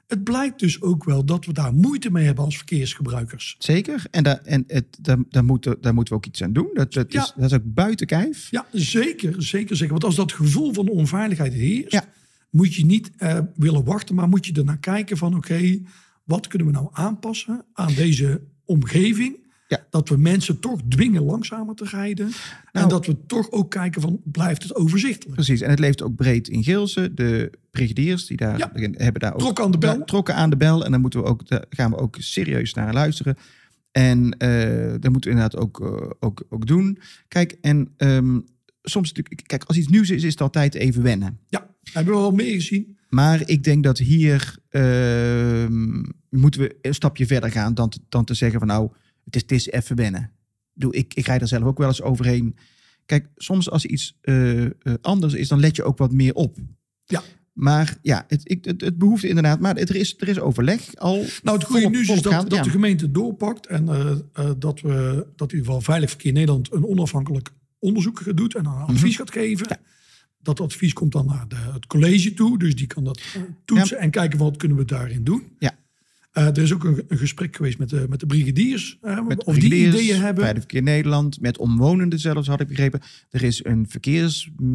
het blijkt dus ook wel dat we daar moeite mee hebben als verkeersgebruikers.
Zeker. En, daar en het, daar, daar, moeten, daar moeten we ook iets aan doen. Dat, dat,
Ja.
is, dat is ook buiten kijf.
Ja, zeker, zeker, zeker. Want als dat gevoel van onveiligheid heerst,
Ja.
moet je niet eh, willen wachten, maar moet je ernaar kijken van oké, wat kunnen we nou aanpassen aan deze omgeving?
Ja.
Dat we mensen toch dwingen langzamer te rijden. en
Nou.
dat we toch ook kijken van blijft het overzichtelijk?
Precies, en het leeft ook breed in Geelsen. De brigadiers die daar,
Ja.
hebben daar ook...
Trokken aan de bel.
Ja, trokken aan de bel. En daar, moeten we ook, daar gaan we ook serieus naar luisteren. En eh dat moeten we inderdaad ook, eh, ook, ook doen. Kijk, en ehm, soms natuurlijk... Kijk, als iets nieuws is, is het altijd even wennen.
Ja, hebben we wel meer gezien.
Maar ik denk dat hier ehm, moeten we een stapje verder gaan... dan te, dan te zeggen van nou, het is, het is even wennen. bedoel, ik, ik rijd er zelf ook wel eens overheen. Kijk, soms als iets eh, eh, anders is, dan let je ook wat meer op.
Ja.
Maar ja, het, ik, het, het behoefte inderdaad. Maar het, er, is, er is overleg al.
Nou, het goede
volop-
nieuws is
volop gaande,
dat, dat
ja.
de gemeente doorpakt en eh, eh, dat, we, dat in ieder geval Veilig Verkeer Nederland een onafhankelijk onderzoek doet en
Mhm.
een advies gaat geven. Dat advies komt dan naar de, het college toe, dus die kan dat eh, toetsen en kijken wat kunnen we daarin doen.
Ja.
Eh, er is ook een, een gesprek geweest met de, met de brigadiers, eh,
Met
of die
brigadiers,
ideeën hebben.
Bij de Verkeer Nederland, met omwonenden zelfs had ik begrepen. Er is een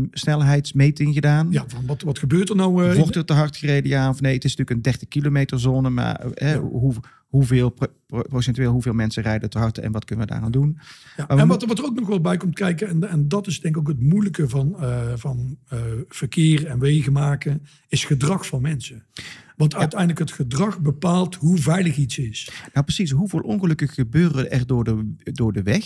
verkeerssnelheidsmeting gedaan.
Ja, van wat, wat gebeurt er nou? eh, in-
Wordt er te hard gereden, ja of nee? Het is natuurlijk een 30 kilometer zone, maar eh, hoe, hoeveel pro- pro- procentueel hoeveel mensen rijden te hard en wat kunnen we daaraan doen?
Ja,
Maar we
en wat, wat er ook nog wel bij komt kijken, en, en dat is denk ik ook het moeilijke van, eh, van eh, verkeer en wegen maken, is gedrag van mensen. Want uiteindelijk het gedrag bepaalt hoe veilig iets is.
Nou precies, hoeveel ongelukken gebeuren er door de, door de weg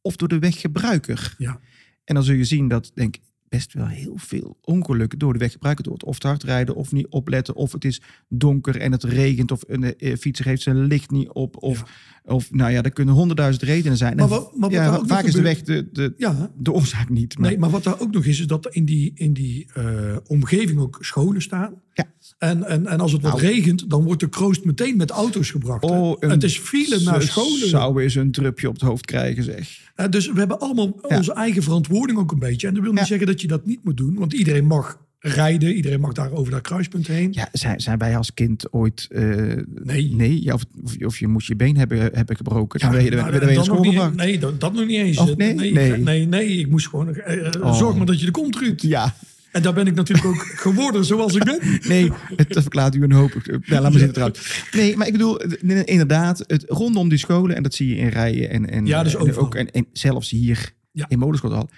of door de weggebruiker?
Ja.
En dan zul je zien dat, denk ik, best wel heel veel ongelukken door de weggebruiker door het of te hard rijden of niet opletten of het is donker en het regent of een eh, fietser heeft zijn licht niet op of, of nou ja, er kunnen honderdduizend redenen zijn.
Maar
En
wat- maar wat
ja,
er ook nog
vaak is de weg
gebeurt-
de, de,
Ja,
de oorzaak niet. Maar,
nee, maar wat daar ook nog is, is dat er in die, in die eh, omgeving ook scholen staan.
Ja.
En, en, en als het wat
Nou.
regent, dan wordt de kroost meteen met auto's gebracht. hè.
Oh, een
het is file naar
Ze
scholen.
Zouden eens een drupje op het hoofd krijgen, zeg.
Eh, dus we hebben allemaal
Ja.
onze eigen verantwoording ook een beetje. En dat wil niet
Ja.
zeggen dat je dat niet moet doen. Want iedereen mag rijden. Iedereen mag daar over dat kruispunt heen.
Ja, zijn, zijn wij als kind ooit... eh,
Nee.
Nee, ja, of, of, je- of je moest je been hebben, hebben gebroken. Dan ben je,
maar
dan ben je naar
Nou, dan
school
nog niet-
gebracht.
Nee, dat, dat nog niet eens.
Of nee?
Nee,
Nee.
nee, nee, ik moest gewoon... eh, eh,
Oh.
Zorg maar dat je er komt, Ruud.
Ja,
En daar ben ik natuurlijk ook geworden zoals ik ben.
nee, het verklaart u een hoop. Ja, laat maar zitten trouwens. Nee, maar ik bedoel, eh, nee, inderdaad, het, rondom die scholen, en dat zie je in rijen en, en,
Ja, dus
en
overal.
ook en, en zelfs hier
Ja.
in Molenschot al.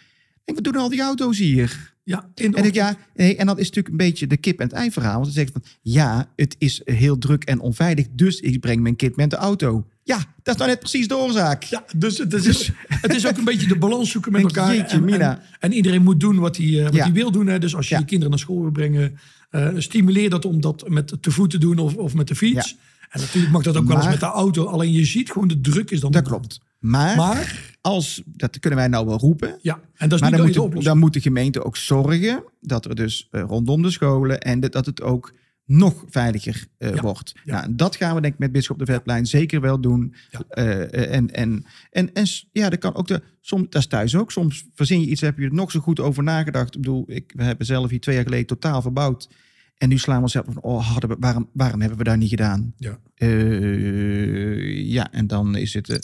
Ik, wat doen al die auto's hier?
Ja, in de
En, ik,
ochtend.
ja, nee, en dat is natuurlijk een beetje de kip en het ei verhaal. Want ze zegt van, ja, het is heel druk en onveilig, dus ik breng mijn kind met de auto. Ja, dat is nou net precies de oorzaak.
Ja, dus het het is, het is ook een beetje de balans zoeken met
Denk,
elkaar.
jeetje,
en,
Mina.
en, en iedereen moet doen wat hij, eh, wat
Ja.
hij wil doen. Hè. Dus als je
Ja.
je kinderen naar school wil brengen, eh, stimuleer dat om dat met te voet te doen of, of met de fiets. En natuurlijk mag dat ook wel eens
Maar-
met de auto. Alleen je ziet gewoon de druk is dan.
Dat klopt. Maar,
Maar,
als, dat kunnen wij nou wel roepen.
ja, en dat is
Maar
niet
dan
de
moet, de,
oplossing.
dan moet de gemeente ook zorgen dat er dus eh, rondom de scholen en dat- dat het ook nog veiliger eh,
Ja.
wordt.
Ja.
Nou, en dat gaan we denk ik met Bisschop de Vetplein zeker wel doen.
Ja.
Eh, en, en, en, en s- ja, dat kan ook de, soms, dat is thuis ook. Soms verzin je iets, heb je er nog zo goed over nagedacht. Ik bedoel, ik, we hebben zelf hier twee jaar geleden totaal verbouwd. En nu slaan we onszelf van, oh, hadden we, waarom, waarom hebben we dat niet gedaan?
Ja.
Eh, ja, en dan is het... eh,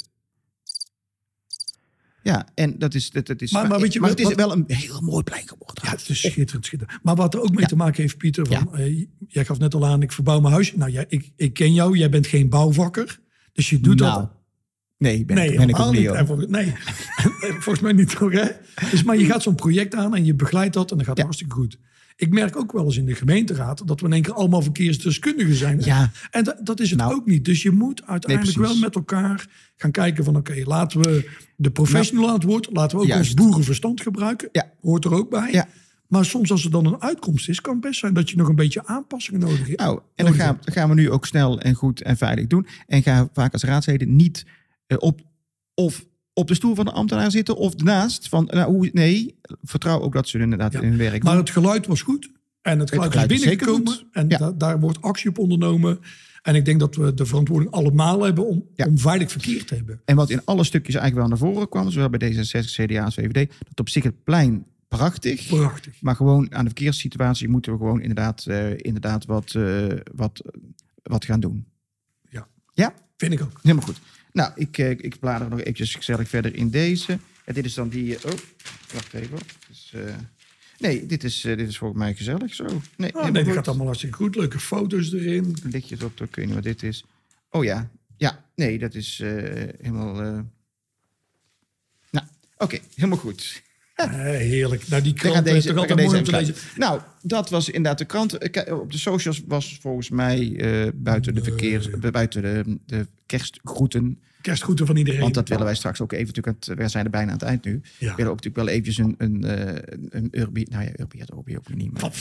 ja, en dat is... Dat, dat is eh,
Maar- maar weet je
maar
wat-
het is
wat-
wel een heel mooi plein geworden.
Ja, het is schitterend, schitterend. Maar wat er ook mee te maken heeft, Pieter, van, eh, jij gaf net al aan, ik verbouw mijn huis. Nou, jij, ik, ik ken jou, jij bent geen bouwvakker. Dus je doet
Nou,
dat.
Nee, ben,
Nee,
ik, ben ik ook
helemaal
niet.
niet.
hoor.
En vol- nee, volgens mij niet toch, hè? Dus, maar je gaat zo'n project aan en je begeleidt dat en dat gaat
Ja.
hartstikke goed. Ik merk ook wel eens in de gemeenteraad dat we in één keer allemaal verkeersdeskundigen zijn.
Ja.
En dat, dat is het
Nou.
ook niet. Dus je moet uiteindelijk
precies.
wel met elkaar gaan kijken van... oké, laten we de professional aan het woord... laten we ook
Juist.
ons boerenverstand gebruiken.
Ja.
Hoort er ook bij.
Ja.
Maar soms als er dan een uitkomst is... kan het best zijn dat je nog een beetje aanpassingen nodig hebt.
Nou, en dat
Nodig
gaan, dat gaan we nu ook snel en goed en veilig doen. En ga vaak als raadsleden niet eh, op, of op de stoel van de ambtenaar zitten of naast. Van, nou, hoe, nee, vertrouw ook dat ze inderdaad
Ja.
in hun werk
Maar het geluid was goed. En het geluid,
geluid is
is
zeker
binnengekomen.
goed.
En
Ja.
da- daar wordt actie op ondernomen. En ik denk dat we de verantwoording allemaal hebben om,
Ja.
om veilig verkeer te hebben.
En wat in alle stukjes eigenlijk wel naar voren kwam, zowel bij D66, CDA als VVD, dat op zich het plein prachtig.
Prachtig.
Maar gewoon aan de verkeerssituatie moeten we gewoon inderdaad, eh, inderdaad wat, eh, wat, wat gaan doen.
Ja.
Ja?
Vind ik ook.
Helemaal goed. Nou, ik, eh, ik blader nog eventjes gezellig verder in deze. En dit is dan die... eh, oh, wacht even. Dit is, eh, nee, dit is, eh, dit is volgens mij gezellig zo. Nee,
Oh,
helemaal
nee, dat
goed.
gaat allemaal hartstikke goed. Leuke foto's erin.
Lichtjes op, ik weet niet wat dit is. Oh ja, ja. Nee, dat is eh, helemaal... eh, Nou, oké, helemaal goed.
Eh, heerlijk. Nou, die
Ik
krant
ga
is
deze,
toch
we gaan
altijd mooi
deze
om te
even
lezen.
lezen. Nou, dat was inderdaad de krant. Eh, kijk, Op de socials was volgens mij eh, buiten, de verkeer, buiten de, de kerstgroeten
Kerstgroeten van iedereen.
Want dat willen wij straks ook even. Natuurlijk, aan het- we zijn er bijna aan het eind nu.
Ja.
We willen ook natuurlijk wel eventjes een, een, eh, een, een Urbi. Nou ja, Urbi had Urbi ook weer niet. Maar,
Wat?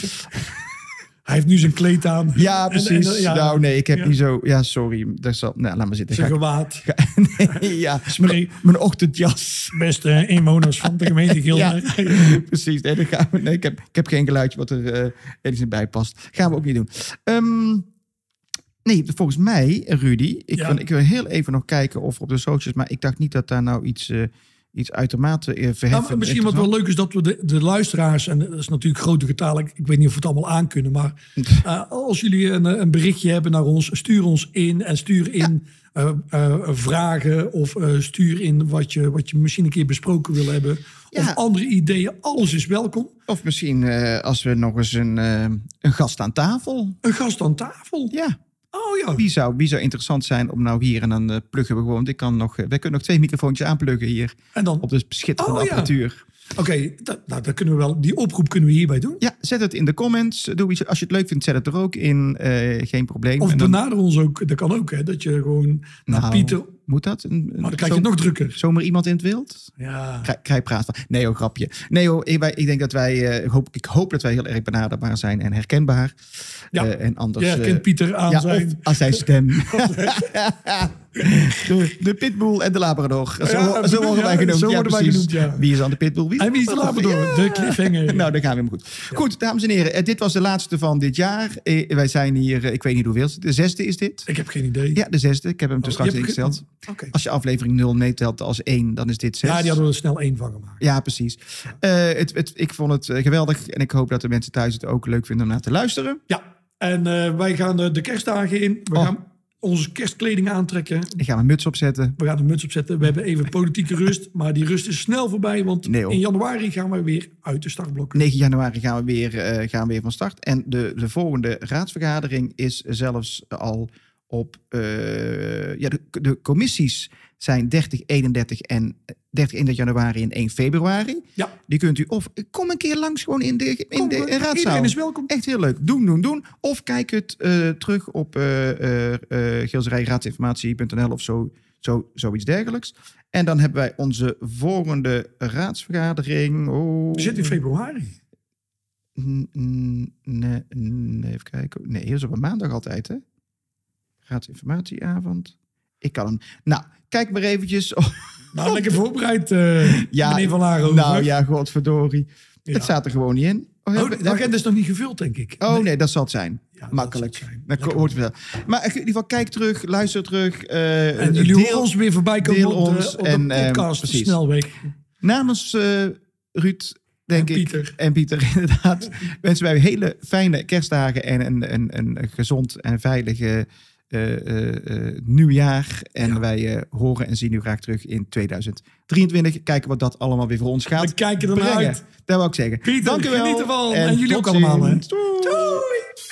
Hij heeft nu zijn kleed aan.
Ja,
En- en-
precies.
ja,
Nou, nee, ik heb
Ja.
niet zo... Ja, sorry. Daar zal, nou, laat maar zitten.
Zijn
Ga
gewaad.
ik- nee, ja, mijn,
Smee.
mijn ochtendjas.
Beste inwoners van de gemeente
Ja,
Gilder.
precies. Nee, dan gaan we, nee, ik, heb, ik heb geen geluidje wat er eh enigszins bij past. Gaan we ook niet doen. Ehm, nee, volgens mij, Rudy... Ik,
Ja.
wil, ik wil heel even nog kijken of op de socials... Maar ik dacht niet dat daar nou iets, eh, iets uitermate eh
Nou,
verheffend...
maar misschien wat wel leuk is dat we de, de luisteraars, en dat is natuurlijk grote getal, ik, ik weet niet of we het allemaal aan kunnen, maar eh, als jullie een, eh, een berichtje hebben naar ons, stuur ons in en stuur in eh, eh, vragen of eh, stuur in wat je, wat je misschien een keer besproken wil hebben.
Ja.
Of andere ideeën, alles is welkom.
Of misschien eh, als we nog eens een, eh, een gast aan tafel.
Een gast aan tafel.
Ja,
Oh ja.
wie zou, wie zou interessant zijn om nou hier en dan eh, pluggen we gewoon. Want ik kan nog, eh, wij kunnen nog twee microfoontjes aanpluggen hier
En dan,
op de schitterende
Oh, ja.
apparatuur.
oké, dat- nou, dat kunnen we wel, die oproep kunnen we hierbij doen.
Ja, zet het in de comments. Doe iets. Als je het leuk vindt, zet het er ook in. Eh, geen probleem.
Of
En dan-
benader ons ook, dat kan ook, hè, dat je gewoon naar
Nou,
Pieter,
Moet dat? Een, een-
maar dan krijg je het
zo-
nog drukker.
Zomaar iemand in het wild?
Ja.
Krij- Krijpraat. van- Nee hoor, grapje. Nee hoor, ik, wij- ik denk dat wij... eh, ik hoop, ik hoop dat wij heel erg benaderbaar zijn en herkenbaar.
Ja.
Eh, en anders...
Je herkent
eh,
Pieter aan
Ja,
zijn...
of aan zijn stem. de, de pitbull en de labrador. Zo,
Ja,
zo worden wij
ja,
genoemd.
zo
ja,
worden wij
precies.
genoemd, ja.
Wie is aan de pitbull? Wie
En wie is de labrador?
Ja.
De cliffhanger.
Nou, dan gaan we hem goed. Goed, dames en heren. eh, Dit was de laatste van dit jaar. Eh, Wij zijn hier, eh, ik weet niet hoeveel. De zesde is dit.
Ik heb geen idee.
Ja, de zesde. Ik heb hem
Oh,
dus straks
je hebt ge-
ingesteld.
Oké.
Als je aflevering 0 meetelt als 1, dan is dit 6.
Ja, die hadden we er snel één van gemaakt.
Ja, precies. Eh, het, het, ik vond het eh, geweldig. En ik hoop dat de mensen thuis het ook leuk vinden om naar te luisteren.
Ja. En eh, wij gaan eh, de kerstdagen in. We
Oh.
gaan onze kerstkleding aantrekken.
Ik ga mijn muts opzetten.
We gaan de muts opzetten. We hebben even politieke rust. Maar die rust is snel voorbij. Want
Nee, hoor.
in januari gaan we weer uit de startblokken.
9 januari gaan we weer, eh, gaan we weer van start. En de, de volgende raadsvergadering is zelfs al op... eh, ja, de, de commissies zijn 30, 31 en 30, 31 januari en 1 februari.
Ja.
Die kunt u of... eh, Kom een keer langs gewoon in de, in
Kom,
de
eh,
raadzaal.
Iedereen is welkom.
Echt heel leuk. Doen, doen, doen. Of kijk het eh, terug op eh eh, eh, gilserijraadsinformatie.nl of zo, zo, zoiets dergelijks. En dan hebben wij onze volgende raadsvergadering. Oh.
We zitten in februari.
N- n- nee, nee, even kijken. Nee, hier is op een maandag altijd, hè? Raadsinformatieavond. Ik kan hem. Nou, kijk maar eventjes. Oh,
Nou, lekker voorbereid, eh
Ja,
meneer Van Laren.
nou ja, godverdorie. Het staat er gewoon niet in. Oh,
Oh,
hebben-
de agenda is nog niet gevuld, denk ik.
Oh nee, dat zal het zijn.
Ja, dat
Makkelijk.
zal het zijn.
Dan ko-
Lekker
hoort het wel. Maar in ieder geval, kijk terug, luister terug. eh,
En jullie horen
deel.
ons weer voorbij komen
deel
op de,
ons
op de
en, eh,
podcast
precies.
Snelweg.
Namens eh, Ruud, denk
En
ik.
Pieter.
En Pieter, inderdaad. wensen wij hele fijne kerstdagen en een, een, een gezond en veilige eh, eh, eh, nieuwjaar. En
Ja.
wij eh, horen en zien u graag terug in 2023. Kijken wat dat allemaal weer voor ons gaat.
We kijken ernaar
brengen.
uit.
Dat wou ik zeggen.
Pieter,
Dank u wel.
geniet ervan. En jullie
tot
ook allemaal, hè.
ziens. Doei.
Doei!